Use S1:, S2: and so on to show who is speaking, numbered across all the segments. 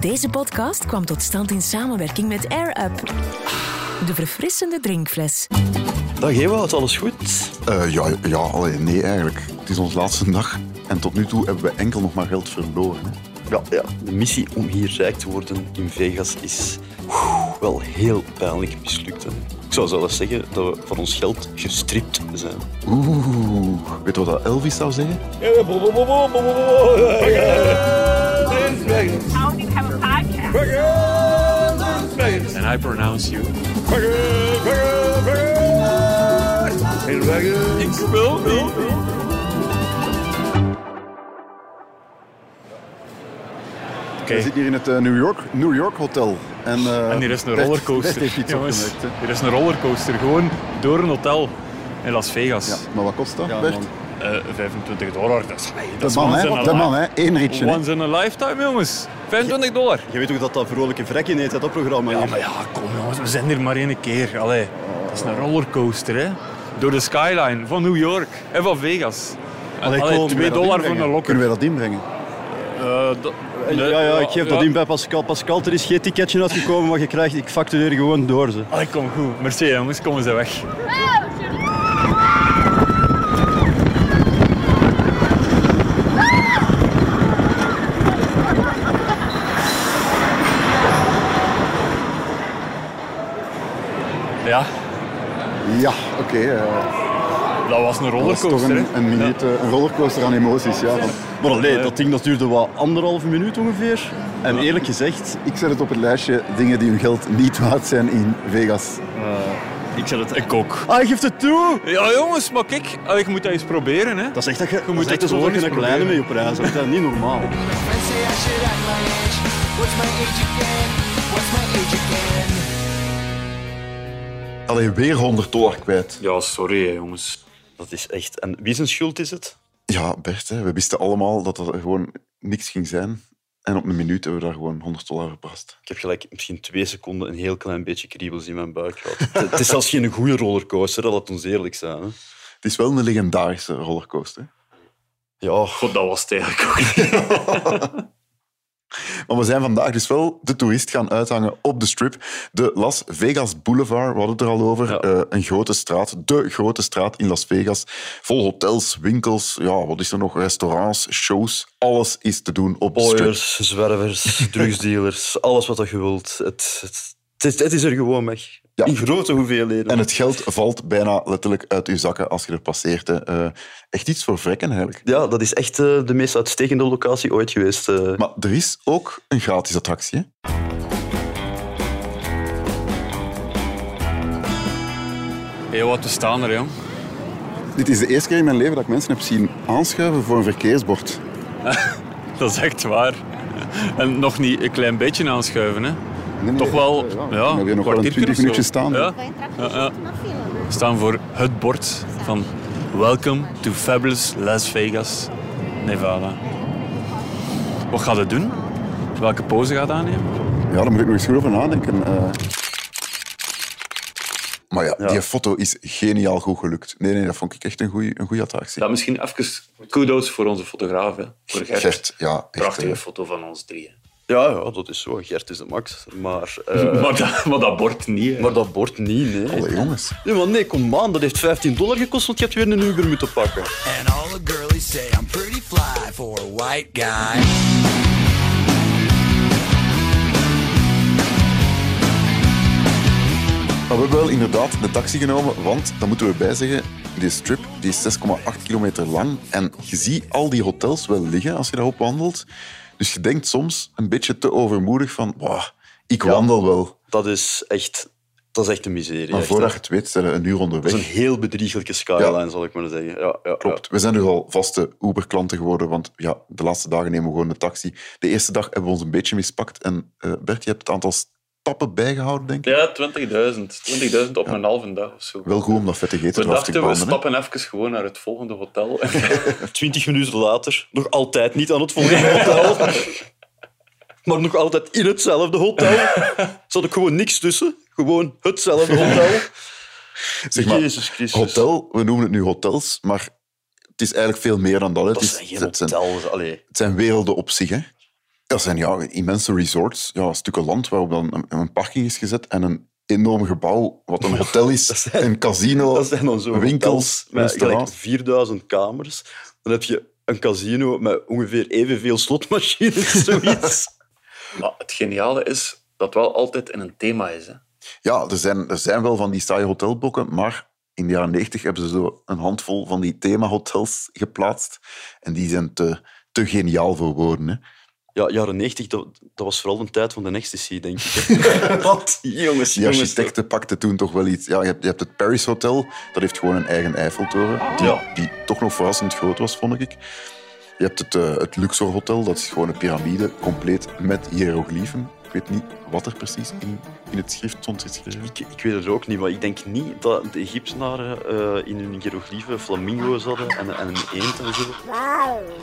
S1: Deze podcast kwam tot stand in samenwerking met Air Up. De verfrissende drinkfles.
S2: Dag Ewout, alles goed?
S3: Eh, ja, ja allee, nee eigenlijk. Het is ons laatste dag. En tot nu toe hebben we enkel nog maar geld verloren. Hè.
S2: Ja, ja, de missie om hier rijk te worden in Vegas is oeh, wel heel pijnlijk mislukt. Hè. Ik zou zelfs zeggen dat we van ons geld gestript zijn.
S3: Oeh, weet je wat dat Elvis zou zeggen?
S4: I don't even have a podcast.
S5: And I pronounce you
S3: We zitten hier in het eh, New, York, New York Hotel. En, eh,
S5: En hier is een
S3: Bert-
S5: rollercoaster.
S3: Bert heeft iets
S5: Jongens,
S3: opgemerkt, hè.
S5: hier is een rollercoaster. Gewoon door een hotel in Las Vegas.
S3: Ja, maar wat kost dat, Bert?
S5: Eh, 25 dollar, dat is, hey, dat
S3: De
S5: is
S3: man,
S5: once in
S3: hè?
S5: a
S3: De man,
S5: li-
S3: hè? Eén ritje. hè.
S5: Once in a lifetime, jongens. 25 dollar.
S2: Je weet ook dat dat vrolijke vrekken heet, hè, dat programma
S5: Ja,
S2: hier.
S5: maar ja, kom jongens, we zijn hier maar één keer. Allee, dat is een rollercoaster, hè. Door de skyline van New York en van Vegas.
S2: Allee,
S5: Allee,
S2: kom,
S5: 2
S2: dat
S5: dollar voor
S2: inbrengen.
S5: een lokker.
S3: Kunnen wij dat inbrengen?
S5: Eh, dat- nee,
S2: ja, ja, ik geef dat
S5: ja.
S2: in bij Pascal. Pascal, er is geen ticketje uitgekomen, maar je krijgt, ik factureer gewoon door ze.
S5: Allee, Ah, kom goed. Merci, jongens. Komen ze weg. Ja,
S3: Ja, oké. eh,
S5: dat was een
S3: dat was toch
S5: rollercoaster.
S3: een,
S5: hè.
S3: een minuut, eh, een rollercoaster aan emoties. Ja. Want
S2: Maar allee, dat ding dat duurde wat anderhalve minuut ongeveer. En eerlijk gezegd,
S3: ik zet het op het lijstje dingen die hun geld niet waard zijn in Vegas.
S2: ik zet het...
S5: Ik ook.
S2: Ah, je geeft het toe!
S5: Ja, jongens, maar kijk, allee, ik moet dat eens proberen. Hè.
S2: Dat is echt dat je, dat is
S5: moet
S2: echt
S5: het
S2: alsof
S5: gewoon
S2: je een
S5: eens
S2: kleine mee
S5: proberen.
S2: op reis hebt. Dat is niet normaal.
S6: and say I should act my age. What's my age again? What's my age again?
S3: Allee, weer 100 dollar kwijt.
S5: Ja, sorry, hè, jongens.
S2: Dat is echt... En wie zijn schuld is het?
S3: Ja, Bert, hè, we wisten allemaal dat er gewoon niks ging zijn. En op een minuut hebben we daar gewoon 100 dollar verpast.
S2: Ik heb gelijk misschien twee seconden een heel klein beetje kriebels in mijn buik gehad. het, het is zelfs geen goede rollercoaster, hè, laat ons eerlijk zijn. Hè.
S3: Het is wel een legendarische rollercoaster.
S2: Ja,
S5: God, dat was het eigenlijk ook.
S3: Maar we zijn vandaag dus wel de toerist gaan uithangen op de strip. De Las Vegas Boulevard, we hadden het er al over.
S2: Ja.
S3: Eh, een grote straat, de grote straat in Las Vegas. Vol hotels, winkels, ja, wat is er nog? Restaurants, shows. Alles is te doen op de strip.
S2: Ooiers, zwervers, drugsdealers, alles wat dat je wilt. Het, het, het, is, het is er gewoon weg.
S3: Ja.
S2: In grote hoeveelheden.
S3: En het geld valt bijna letterlijk uit je zakken als je er passeert. hè. Eh, echt iets voor vrekken eigenlijk.
S2: Ja, dat is echt eh, de meest uitstekende locatie ooit geweest. eh.
S3: Maar er is ook een gratis attractie. hè?
S5: Hé, wat, we staan er, jong.
S3: Dit is de eerste keer in mijn leven dat ik mensen heb zien aanschuiven voor een verkeersbord.
S5: Dat is echt waar. En nog niet een klein beetje aanschuiven, hè. Toch wel,
S3: eh,
S5: ja,
S3: ja, dan heb je nog wel een
S5: kwartiertje
S3: 20
S5: of zo.
S3: minuutjes staan.
S5: Ja.
S7: Vai entrar com
S5: Ja, ja.
S7: na fila, né?
S5: We staan voor het bord van Welcome to Fabulous Las Vegas, Nevada. Wat gaat het doen? Welke pose gaat het aannemen?
S3: Ja, daar moet ik nog eens goed over nadenken. eh. Maar ja,
S2: Ja.
S3: die foto is geniaal goed gelukt. Nee, nee, dat vond ik echt een goede een goeie attractie.
S8: Ja, misschien even kudos voor onze fotograaf, hè. voor Gert.
S3: Gert, ja. echt,
S8: Prachtige
S3: eh,
S8: foto van ons drieën.
S2: ja, ja, dat is zo. Gert is de max. Maar, eh,
S8: maar, dat, maar dat bord niet. hè.
S2: maar dat bord niet, nee.
S3: Allee, jongens.
S2: Nee, maar nee, kom aan. Dat heeft 15 dollar gekost, want je hebt weer een Uber moeten pakken.
S6: And all the girlies say I'm pretty fly for a white guy.
S3: Maar we hebben wel inderdaad de taxi genomen, want, daar moeten we bij zeggen, die strip die is 6,8 kilometer lang en je ziet al die hotels wel liggen als je daarop wandelt. Dus je denkt soms een beetje te overmoedig van, "Wah, ik wandel wel.
S2: Dat is echt, dat is echt een miserie.
S3: Maar
S2: echt,
S3: voordat
S2: hè.
S3: je het weet, zijn we een uur
S2: Dat
S3: onderweg.
S2: is een heel bedriegelijke skyline,
S3: Ja.
S2: zal ik maar zeggen. Ja, ja,
S3: Klopt. We zijn dus al vaste Uber-klanten geworden, want ja, de laatste dagen nemen we gewoon de taxi. De eerste dag hebben we ons een beetje mispakt. En eh, Bert, je hebt het aantal stappen bijgehouden, denk ik.
S8: Ja, 20.000. 20.000 op een halve dag of zo.
S3: Wel goed om dat vette
S8: we
S3: eten eraf te
S8: dachten, we
S3: branden, hè.
S8: stappen even gewoon naar het volgende hotel.
S2: ja. Twintig minuten later, nog altijd niet aan het volgende hotel. maar nog altijd in hetzelfde hotel. Zat ook gewoon niks tussen. Gewoon hetzelfde hotel.
S3: Zeg maar,
S2: Jezus Christus.
S3: Hotel, we noemen het nu hotels, maar het is eigenlijk veel meer dan dat. hè.
S2: Dat
S3: het, is,
S2: zijn geen
S3: het, zijn,
S2: hotels. Allee.
S3: het zijn werelden op zich. Hè. Dat zijn ja, immense resorts, ja, stukken land waarop dan een, een parking is gezet en een enorm gebouw, wat een hotel is,
S2: zijn-
S3: een casino,
S2: Dat zijn dan zo
S3: winkels,
S2: hotels met gelijk
S3: restaurants.
S2: 4000 kamers. Dan heb je een casino met ongeveer evenveel slotmachines, zoiets.
S8: Maar het geniale is dat wel altijd in een thema is. Hè.
S3: Ja, er zijn, er zijn wel van die saaie hotelblokken, maar in de jaren 90 hebben ze zo een handvol van die themahotels geplaatst. En die zijn te, te geniaal voor woorden. Hè.
S2: Ja, jaren 90, dat, dat was vooral de tijd van de ecstasy, denk ik. Wat? Jongens,
S3: Die
S2: jongens.
S3: architecten pakten toen toch wel iets. Ja, je hebt, je hebt het Paris Hotel, dat heeft gewoon een eigen Eiffeltoren. Die,
S2: Ah. Ja.
S3: die toch nog verrassend groot was, vond ik. Je hebt het, eh, het Luxor Hotel, dat is gewoon een piramide, compleet met hiërogliefen. Ik weet niet wat er precies in, in het schrift stond geschreven.
S2: Ik, ik weet het ook niet, maar ik denk niet dat de Egyptenaren eh, in hun hieroglyphen flamingo's hadden en, en een eend en zo.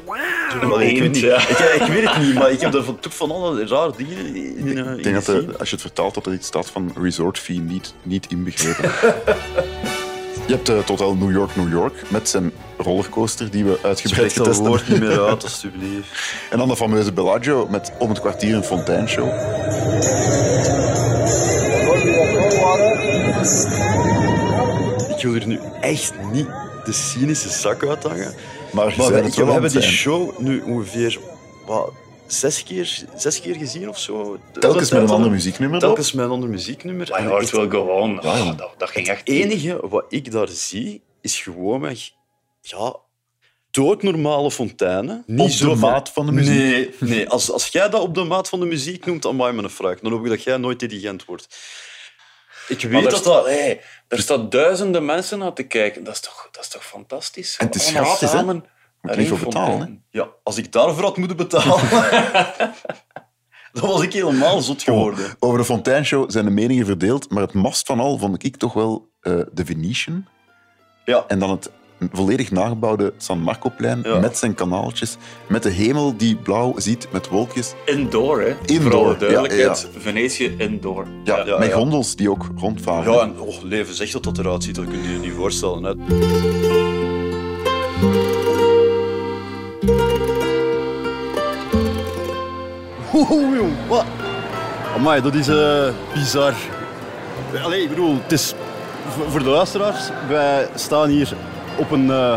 S2: Maar ik, weet
S8: eend,
S2: niet,
S8: ja.
S2: ik, ik weet het niet, maar ik heb daar van, toch van alle rare dieren in, in, eh, in
S3: Ik denk dat
S2: gezien.
S3: er- als je het vertaalt dat er iets staat van resort fee niet, niet inbegrepen. Je hebt eh, het hotel New York, New York met zijn rollercoaster die we uitgebreid
S2: Spreek dat
S3: getest hebben.
S2: woord niet meer uit, alstublieft.
S3: En dan de fameuze Bellagio met om het kwartier een fonteinshow.
S2: Ik wil er nu echt niet de cynische zak uit hangen.
S3: Maar, ze
S2: Maar
S3: zijn
S2: we,
S3: het
S2: we
S3: wel aan
S2: hebben die
S3: het zijn.
S2: show nu ongeveer wat, zes, keer, zes keer gezien of zo.
S3: Telkens met een ander
S2: muziek.
S3: muzieknummer.
S2: Telkens met een ander muzieknummer.
S8: My
S2: En
S8: Heart
S2: echt-
S8: Will Go On,
S5: Oh,
S8: ah, dat, dat ging echt...
S2: Het enige wat ik daar zie, is gewoonweg ja, doodnormale fonteinen. Niet
S3: Op de
S2: zo
S3: maat van de muziek.
S2: Nee, nee. Als, als jij dat op de maat van de muziek noemt, dan maai me een fruik. Dan hoop ik dat jij nooit dirigent wordt. Ik
S8: Maar
S2: weet
S8: daar,
S2: dat
S8: staat,
S2: dat...
S8: hey, daar staat duizenden mensen naar te kijken. Dat is toch, dat is toch fantastisch?
S3: En het is
S8: Allemaal
S3: gratis, hè?
S8: samen
S3: Moet je niet voor
S8: daarin
S3: betalen,
S8: vond-
S2: Ja, als ik daarvoor had moeten betalen, dan was ik helemaal zot geworden.
S3: Over de fonteinshow zijn de meningen verdeeld, maar het mast van al vond ik toch wel eh de Venetian.
S2: Ja.
S3: En dan het volledig nagebouwde San Marcoplein
S2: Ja.
S3: met zijn kanaaltjes, met de hemel die blauw ziet met wolkjes.
S8: Indoor, hè?
S3: Indoor,
S8: Voor alle
S3: ja,
S8: duidelijkheid. Venetië indoor.
S3: Ja,
S2: Ja,
S3: met
S2: ja.
S3: gondels die ook rondvaren.
S2: Ja, en oh, leven zegt dat dat eruit ziet, dat kun je je niet voorstellen. Hè. Oeh, jong, wat? Amai, dat is eh, bizar. Allee, ik bedoel, het is voor- voor de luisteraars, wij staan hier op een eh,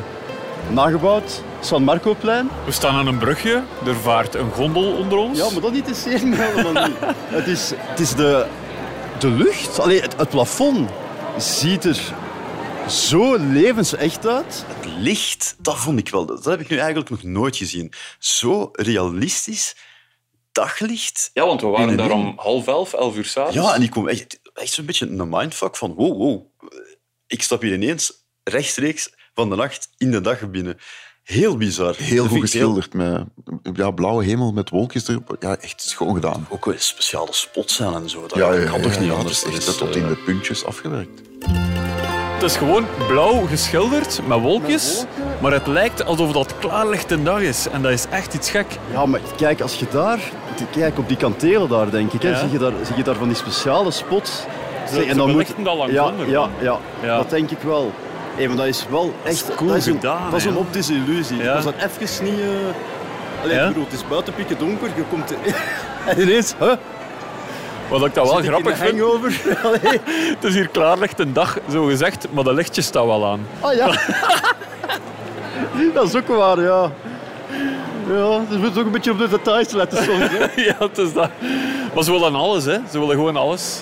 S2: nagebouwd San Marcoplein.
S5: We staan aan een brugje, er vaart een gondel onder ons.
S2: Ja, maar dat interesseert me helemaal niet. Het is, het is de, de lucht, Allee, het, het plafond ziet er zo levensecht uit. Het licht, dat vond ik wel. Dat heb ik nu eigenlijk nog nooit gezien. Zo realistisch, daglicht.
S8: Ja, want we waren
S2: In de
S8: daar
S2: ring.
S8: om half elf, elf uur s'avonds.
S2: Ja, en ik kom echt, echt zo'n beetje in een mindfuck van wow, wow. Ik stap hier ineens rechtstreeks van de nacht in de dag binnen. Heel bizar.
S3: Heel
S2: Dat
S3: goed
S2: vind ik
S3: geschilderd, met ja, blauwe hemel met wolkjes erop. Ja, echt schoon gedaan.
S2: Ook wel speciale spots zijn en zo. Dat kan toch niet
S3: ja,
S2: anders.
S3: Het is echt
S2: Dat is,
S3: tot
S2: eh,
S3: in de puntjes afgewerkt.
S5: Het is gewoon blauw geschilderd met wolkjes, maar het lijkt alsof dat klaarlichte dag is. En dat is echt iets gek.
S4: Ja, maar kijk, als je daar... Kijk, op die kantelen daar, denk ik. Hè,
S5: Ja.
S4: zie, je daar, zie je daar van die speciale spots? Zeg,
S5: ze belichten dat langs
S4: ja,
S5: onder,
S4: ja, ja,
S5: Ja.
S4: dat denk ik wel. Hé, maar dat is wel echt...
S5: cool
S4: dat is een,
S5: gedaan,
S4: Dat is een
S5: hè.
S4: optische illusie.
S5: Ja.
S4: Ik was daar even niet... eh Allee,
S5: Ja?
S4: ik bedoel, het is buiten pikken donker, je komt... en ineens, huh?
S5: Wat ik dat wel
S4: zit ik in
S5: grappig
S4: de
S5: vind,
S4: hangover. Allee.
S5: het is hier klaarlichte dag, zo gezegd, maar de lichtjes staan wel aan.
S4: Ah ja. dat is ook waar, ja. Ja, dus we moeten ook een beetje op de details letten soms. Hè.
S5: ja, het is dat. Maar ze willen alles, hè. Ze willen gewoon alles.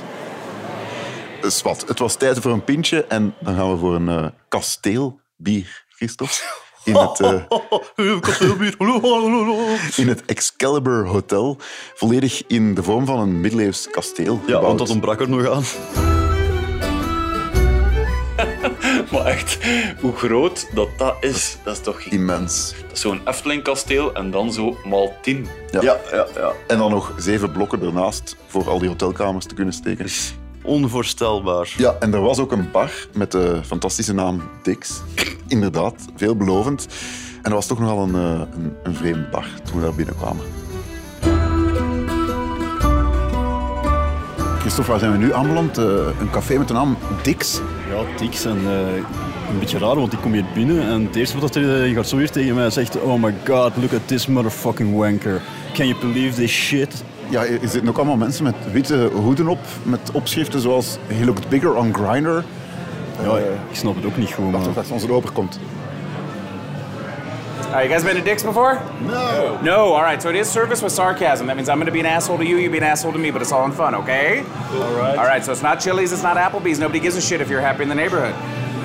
S3: Dus wat, het was tijd voor een pintje en dan gaan we voor een eh, kasteelbier, Christophe. In het, eh, in het Excalibur Hotel. Volledig in de vorm van een middeleeuws kasteel.
S2: Ja, want
S3: gebouwd.
S2: dat ontbrak er nog aan.
S8: Maar echt, hoe groot dat dat is. Dat is toch gigant.
S3: Immens.
S8: Dat is zo'n Eftelingkasteel en dan zo maal tien.
S3: Ja. Ja, ja, En dan nog zeven blokken ernaast voor al die hotelkamers te kunnen steken.
S2: Onvoorstelbaar.
S3: Ja, en er was ook een bar met de fantastische naam Dix. Inderdaad, veelbelovend. En er was toch nogal een, eh, een, een vreemde bar toen we daar binnenkwamen. Christophe, waar zijn we nu aanbeland? Eh, een café met de naam Dix.
S4: Ja, Tix en eh, een beetje raar, want ik kom hier binnen en het eerste wat dat er die gaat zo weer tegen mij zegt: Oh my god, look at this motherfucking wanker. Can you believe this shit?
S3: Ja, er zitten ook allemaal mensen met witte hoeden op, met opschriften zoals He looked bigger on Grindr. Eh,
S4: Oh, Ja, ik snap het ook niet goed,
S3: Wacht,
S4: man.
S3: wacht, wacht, onze loper komt.
S7: All right, you guys been to Dick's before? No. No. All right. So it is service with sarcasm. That means I'm going to be an asshole to you. You be an asshole to me. But it's all in fun. Okay. All right. All right. So it's not Chili's. It's not Applebee's. Nobody gives a shit if you're happy in the neighborhood.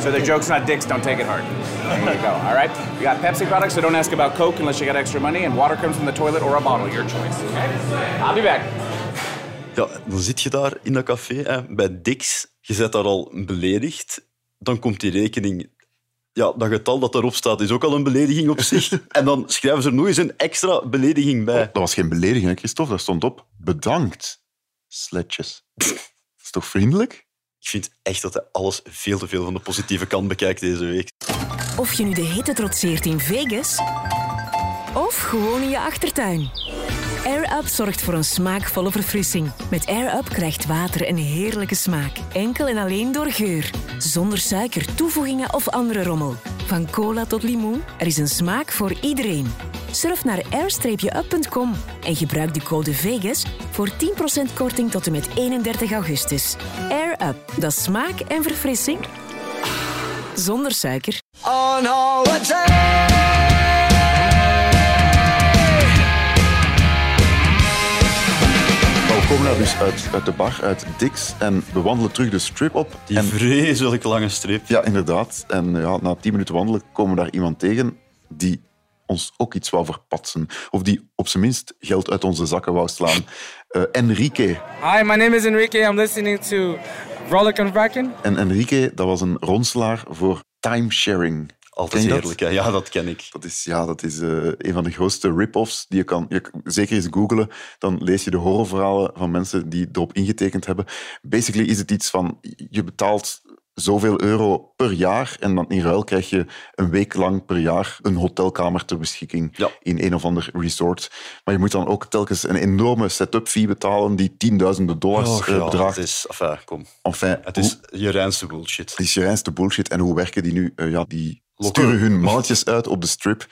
S7: So the joke's not dicks. Don't take it hard. There you go. All right. You got Pepsi products, so don't ask about Coke unless you got extra money. And water comes from the toilet or a bottle. Your choice. Okay. I'll be back.
S2: Ja, dan zit je daar in dat café hè, bij Dix. Je bent daar al beledigd. Dan komt die rekening. Ja, dat getal dat daarop staat is ook al een belediging op zich. en dan schrijven ze er nog eens een extra belediging bij.
S3: Dat was geen belediging, hè, Christophe. Daar stond op, bedankt, sletjes. Dat is toch vriendelijk?
S2: Ik vind echt dat hij alles veel te veel van de positieve kant bekijkt deze week.
S1: Of je nu de hitte trotseert in Vegas of gewoon in je achtertuin. Air Up zorgt voor een smaakvolle verfrissing. Met Air Up krijgt water een heerlijke smaak. Enkel en alleen door geur. Zonder suiker, toevoegingen of andere rommel. Van cola tot limoen, er is een smaak voor iedereen. Surf naar air-up.com en gebruik de code VEGAS voor 10% korting tot en met 31 augustus. Air Up, dat is smaak en verfrissing zonder suiker.
S6: On holiday.
S3: Maar we komen daar dus uit, uit de bar, uit Dix, en we wandelen terug de strip op.
S2: Die vreselijk lange strip.
S3: Ja, inderdaad. En ja, na tien minuten wandelen komen we daar iemand tegen die ons ook iets wou verpatsen. Of die op zijn minst geld uit onze zakken wou slaan. Eh, Enrique.
S9: Hi, my name is Enrique. I'm listening to Rollick and Rackin'.
S3: En Enrique, dat was een ronselaar voor timesharing.
S2: Altijd
S3: Ken je dat?
S2: heerlijk. hè. Ja, dat ken ik.
S3: Dat is, ja, dat is eh, een van de grootste rip-offs die je kan... Je, k- zeker eens googelen, dan lees je de horrorverhalen van mensen die erop ingetekend hebben. Basically is het iets van, je betaalt zoveel euro per jaar en dan in ruil krijg je een week lang per jaar een hotelkamer ter beschikking
S2: Ja.
S3: in een of ander resort. Maar je moet dan ook telkens een enorme setup fee betalen die tienduizenden dollars
S2: Och,
S3: eh,
S2: ja,
S3: bedraagt.
S2: het is, enfin, kom.
S3: Enfin,
S2: Het is je reinste bullshit.
S3: die Sirijnse bullshit. En hoe werken die nu? Eh, ja, die
S2: Lokken.
S3: sturen hun mannetjes uit op de strip.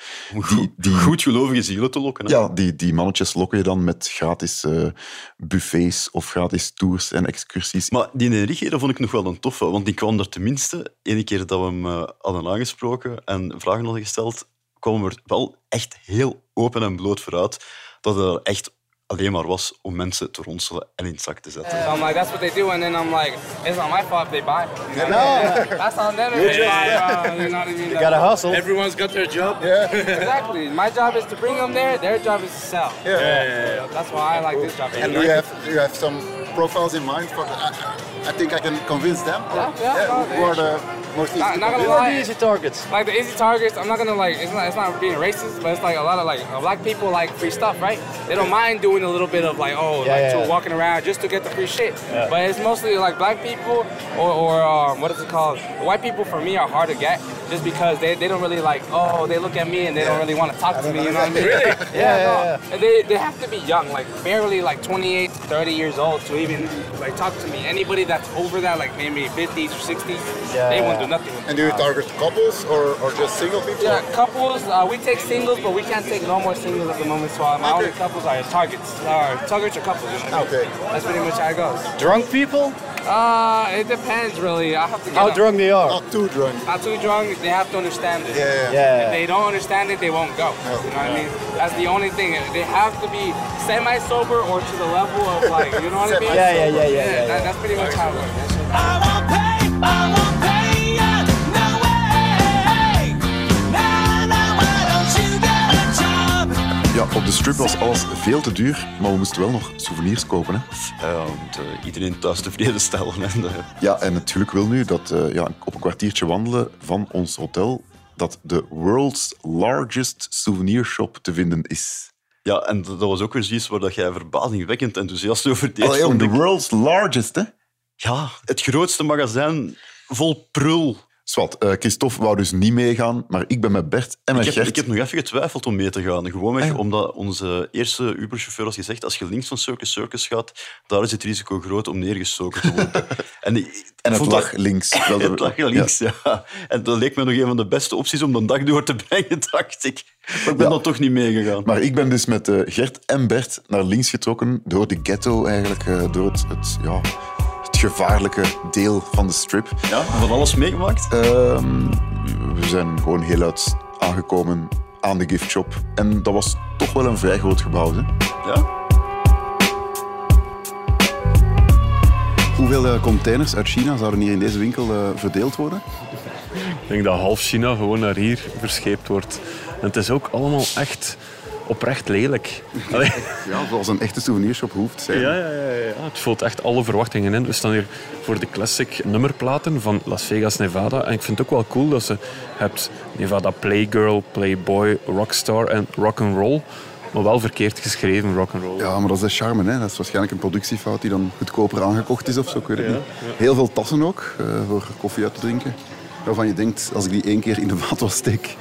S3: Die, die,
S2: Goedgelovige zielen te lokken. hè.
S3: ja, die, die mannetjes lokken je dan met gratis eh, buffets of gratis tours en excursies.
S2: Maar die Enrique, dat vond ik nog wel een toffe. Want die kwam er tenminste, ene keer dat we hem eh, hadden aangesproken en vragen hadden gesteld, kwam er wel echt heel open en bloot vooruit dat het er echt alleen maar was om mensen te ronselen en in het zak te zetten.
S9: So I'm like, that's what they do, and then I'm like, it's not my fault if they buy. You know what I mean? That's on them if they buy. Uh, you know what I mean? Like,
S4: Gotta hustle.
S9: Everyone's got their job. Yeah. exactly. My job is to bring them there. Their job is to sell. Yeah. That's why I like this job.
S10: And do you have do you have some profiles in mind for? I, I think I can convince them.
S9: Yeah, yeah, no,
S10: who are the most easy?
S9: Not,
S10: to
S9: not gonna
S10: convince?
S9: lie.
S4: targets.
S9: Like the easy targets, I'm not gonna like. It's not. It's not being racist, but it's like a lot of like black people like free stuff, right? They don't mind doing a little bit of like, oh, like
S4: yeah,
S9: to
S4: yeah.
S9: walking around just to get the free shit. But it's mostly like black people or, or um, what is it called? White people for me are hard to get just because they, they don't really like. Oh, they look at me and they don't really want to talk to me. You know what I mean? Really? yeah. no. And They they have to be young, like barely like 28, 30 years old to even like talk to me. Anybody that's over that, like maybe 50s or 60s, they won't do nothing. With me.
S10: And do you target couples or, or just single people?
S9: Yeah, couples. Uh, we take singles, but we can't take no more singles at the moment. So uh, my only couples are targets. Or targets or couples. You know?
S10: Okay.
S9: That's pretty much how it goes.
S4: Drunk people?
S9: Uh, it depends really. I have to get
S4: How
S9: up.
S4: drunk they are?
S10: Not too drunk.
S9: Not too drunk. They have to understand it.
S10: Yeah.
S9: If
S4: Yeah.
S9: they don't understand it, they won't go. You know what I mean? That's the only thing. They have to be semi-sober or to the level of like, you know what I mean?
S4: Yeah, yeah, yeah, yeah, yeah,
S9: that- that's pretty much how it works.
S3: Ja, op de strip was alles veel te duur, maar we moesten wel nog souvenirs kopen. Hè?
S2: Ja, om te- iedereen thuis tevreden stellen. En, eh,
S3: Ja, en het geluk wil nu dat eh, ja, op een kwartiertje wandelen van ons hotel dat de world's largest souvenirshop te vinden is.
S2: ja, en dat dat was ook weer zoiets waar dat jij verbazingwekkend enthousiast over deed.
S3: Allee, jong,
S2: vond
S3: de
S2: ik.
S3: world's largest, hè?
S2: Ja, het grootste magazijn vol prul.
S3: Zwat, eh, Christophe wou dus niet meegaan, maar ik ben met Bert en
S2: Ik
S3: met
S2: heb,
S3: Gert.
S2: ik heb nog even getwijfeld om mee te gaan. Gewoonweg
S3: Ah,
S2: omdat onze eerste Uberchauffeur had gezegd als je links van Circus Circus gaat, daar is het risico groot om neergestoken te worden. en ik-
S3: En het
S2: vond
S3: lag links. Wel,
S2: het
S3: dat-
S2: lag links, ja. En dat leek me nog een van de beste opties om de dag door te brengen, dacht ik. Maar ik ben dan toch niet meegegaan.
S3: Maar ik ben dus met eh, Gert en Bert naar links getrokken door de ghetto eigenlijk, eh, door het, het, ja, het gevaarlijke deel van de strip. Ehm,
S2: Ja, van alles meegemaakt?
S3: Eh. we zijn gewoon heel uit aangekomen aan de gift shop. En dat was toch wel een vrij groot gebouw, hè?
S2: Ja.
S11: Hoeveel eh, containers uit China zouden hier in deze winkel eh, verdeeld worden?
S5: Ik denk dat half China gewoon naar hier verscheept wordt. En het is ook allemaal echt oprecht lelijk. Allee.
S11: Ja, zoals een echte souvenirshop hoeft te
S5: Ja,
S11: zijn.
S5: ja, ja, ja. Ah, Het vult echt alle verwachtingen in. We staan hier voor de classic nummerplaten van Las Vegas, Nevada. En ik vind het ook wel cool dat ze hebt Nevada Playgirl, Playboy, Rockstar en Rock'n'Roll. Maar wel verkeerd geschreven, Rock'n'Roll.
S11: Ja, maar dat is de charme. Hè? Dat is waarschijnlijk een productiefout die dan goedkoper aangekocht is of zo. Ik weet het
S5: Ja,
S11: niet.
S5: ja.
S11: Heel veel tassen ook, eh, voor koffie uit te drinken. Waarvan je denkt, als ik die één keer in de vaatwas steek,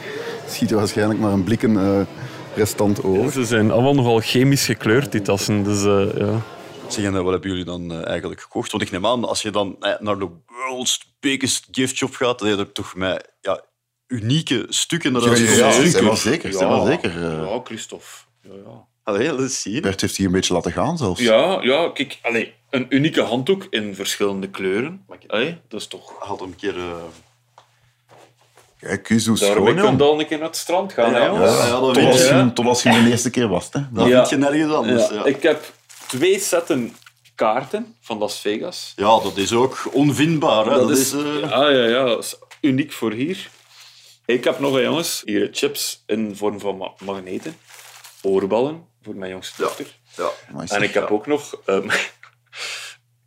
S11: schiet er waarschijnlijk maar een blikken eh, restant over.
S5: Ze zijn allemaal nogal chemisch gekleurd, die tassen. Dus eh, ja.
S2: Zeg, en eh, wat hebben jullie dan eh, eigenlijk gekocht? Want ik neem aan, als je dan eh, naar de world's biggest gift shop gaat, dan heb je toch met ja, unieke stukken naar huis
S3: Ja,
S2: gekomen.
S3: ja,
S2: Stukken.
S3: zijn wel zeker, zijn wel zeker. eh.
S8: Ja, Christophe. Ja, ja.
S2: Allee, dat is zien.
S3: Bert heeft die een beetje laten gaan zelfs.
S8: Ja, ja, kijk, allee, een unieke handdoek in verschillende kleuren. Maar ik- Allee, dat is toch...
S2: Had een keer... eh,
S3: Kijk, kies hoe
S8: Daarmee
S3: schoon,
S8: kun
S3: jong.
S8: je al een keer naar het strand gaan, hè, jongens?
S3: Ja,
S8: Ja.
S3: tot, als je, tot als je hem de eerste keer was. Hè.
S2: Dat vind je nergens anders, ja.
S8: Ik heb twee setten kaarten van Las Vegas.
S2: Ja, dat is ook onvindbaar. Hè? Dat, is, eh,
S8: ah, ja, ja, dat is uniek voor hier. Ik heb nog, hè, jongens, hier chips in vorm van ma- magneten. Oorballen voor mijn jongste dochter.
S2: Ja,
S3: Amai, zeg,
S8: en ik heb
S3: ja.
S8: ook nog ehm,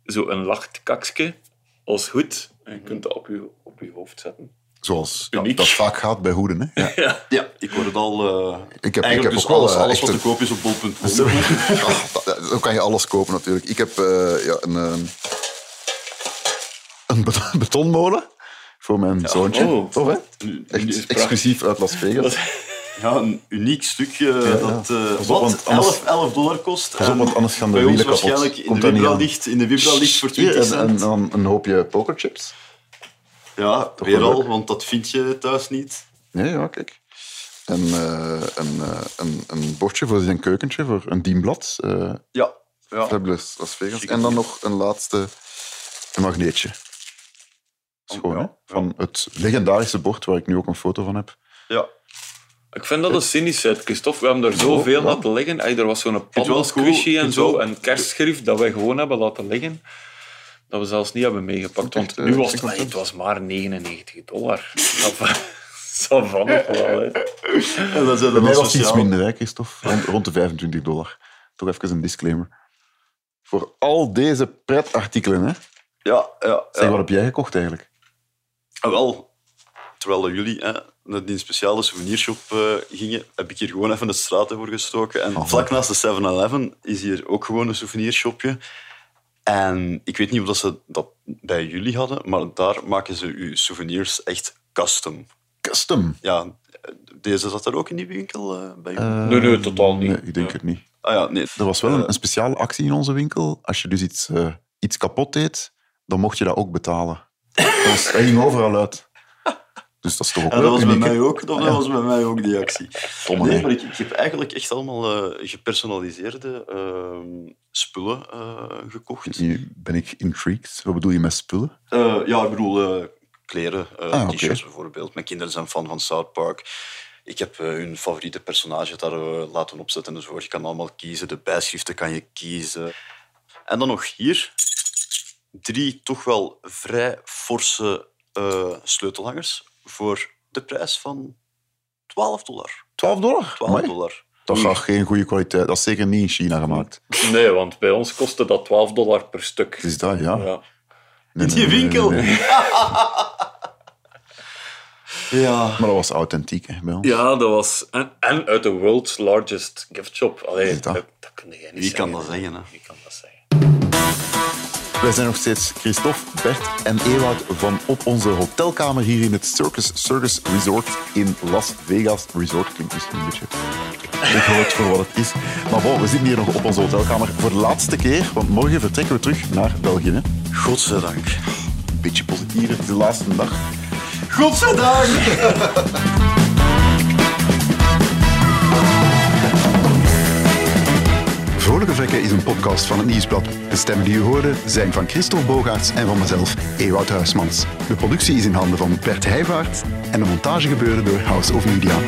S8: zo zo'n lachtkakske als hoed. En je kunt dat op je, op je hoofd zetten.
S3: Zoals
S8: Uniek.
S3: dat vaak gaat bij hoeden. Hè. Ja.
S2: ja, ik word het al... eh,
S3: Ik heb, ik heb
S2: eigenlijk dus
S3: ook wel
S2: alles,
S3: eh,
S2: alles
S3: echt
S2: wat te
S3: een-
S2: koop is op bol.com.
S3: Ah, dat- dat- Zo kan je alles kopen natuurlijk. Ik heb eh, ja, een, eh, een bet- betonmolen voor mijn zoontje.
S8: oh.
S3: Tof, hè?
S2: Nu- nu is
S3: Echt
S2: het
S3: exclusief uit Las Vegas.
S2: Ja, een uniek stukje dat eh,
S3: op,
S2: wat
S3: want anders-
S2: 11, 11 dollar kost.
S3: Pas op,
S2: En
S3: want anders gaan de
S2: bij ons
S3: wielen kapot.
S2: waarschijnlijk in
S3: Komt
S2: de
S3: dat niet
S2: Vibra
S3: aan.
S2: ligt, in de Vibra ligt voor 20
S3: en, en
S2: cent.
S3: dan een hoopje pokerchips.
S2: Ja,
S3: Toch
S2: weer
S3: wel
S2: al,
S3: leuk.
S2: want dat vind je thuis niet.
S3: Nee, ja, kijk. En eh, een, eh, een, een bordje voor zijn keukentje, voor een dienblad. eh
S2: Ja, ja.
S3: Fabulous Las Vegas. En dan nog een laatste een magneetje. Schoon, hè? Van het legendarische bord waar ik nu ook een foto van heb.
S2: ja.
S8: Ik vind dat een cynischheid, Christophe. We hebben er zoveel laten liggen. Ey, er was zo'n
S2: het wel cool.
S8: pandasquishy
S2: Ik
S8: en
S2: vind
S8: zo,
S2: wel-
S8: en kerstschrift, dat wij gewoon hebben laten liggen. Dat we zelfs niet hebben meegepakt. Want
S3: eh,
S8: nu was
S3: ik
S8: het,
S3: vond
S8: ey, het was maar 99 dollar. Dat va- dat van nog wel, hè.
S2: En dan zijn
S3: Bij
S2: er
S3: mij
S2: dan
S3: was het iets
S2: sociaal.
S3: minder, hè, Christophe? Rond, rond de 25 dollar. Toch even een disclaimer. Voor al deze pretartikelen, hè?
S2: Ja, ja,
S3: Zeg,
S2: ja.
S3: wat heb jij gekocht eigenlijk?
S2: Ah, wel, terwijl jullie hè, naar die speciale souvenirshop eh, gingen, heb ik hier gewoon even de straat voor gestoken.
S3: Ah,
S2: En vlak naast de 7-Eleven is hier ook gewoon een souvenirshopje. En ik weet niet of dat ze dat bij jullie hadden, maar daar maken ze uw souvenirs echt custom.
S3: Custom.
S2: Ja, deze zat er ook in die winkel eh, bij jullie.
S8: Nee, nee, totaal niet.
S3: Nee, ik denk het niet.
S2: ah ja, nee.
S3: Er was wel een, een speciale actie in onze winkel. Als je dus iets, eh, iets kapot deed, dan mocht je dat ook betalen. Dat, was, dat ging overal uit. Dus dat is toch ook
S2: En
S3: wel
S2: dat was bij
S3: uniek, hè?
S2: mij ook, dat was bij mij ook die actie.
S3: Domme,
S2: nee,
S3: hè?
S2: maar ik, ik heb eigenlijk echt allemaal eh, gepersonaliseerde eh, spullen eh, gekocht.
S3: Nu ben ik intrigued. Wat bedoel je met spullen?
S2: Eh, ja, ik bedoel eh, kleren, eh,
S3: Ah, oké.
S2: t-shirts bijvoorbeeld. Mijn kinderen zijn fan van South Park. Ik heb eh, hun favoriete personage daar eh, laten opzetten en zo. Je kan allemaal kiezen, de bijschriften kan je kiezen. En dan nog hier drie toch wel vrij forse eh, sleutelhangers voor de prijs van 12 dollar.
S3: 12 dollar?
S2: 12
S3: Amai.
S2: dollar.
S3: Dat is nog geen goede kwaliteit. Dat is zeker niet in China gemaakt.
S8: Nee, want bij ons kostte dat 12 dollar per stuk.
S3: Het is dat, ja.
S8: Ja.
S3: Nee,
S2: In die
S3: nee, nee, nee,
S2: winkel.
S3: nee, nee.
S2: Ja.
S3: Maar dat was authentiek, hè, bij ons.
S8: Ja, dat was... En, en uit de world's largest gift shop. Allee,
S3: Is dat?
S8: dat, dat kun jij niet
S2: Wie kan
S8: zeggen.
S2: dat zeggen, hè?
S8: Wie kan dat zeggen?
S3: Wij zijn nog steeds Christophe, Bert en Ewout van op onze hotelkamer hier in het Circus Circus Resort in Las Vegas. Resort klinkt misschien een beetje groot voor wat het is. Maar bon, we zitten hier nog op onze hotelkamer voor de laatste keer, want morgen vertrekken we terug naar België. hè? Godzijdank. Een beetje positiever, het is de laatste dag.
S2: Godzijdank!
S11: Vrolijke Vrekken is een podcast van het Nieuwsblad. De stemmen die u hoorde zijn van Christophe Bogaerts en van mezelf, Ewout Huismans. De productie is in handen van Bert Heijvaart en de montage gebeurde door House of Media.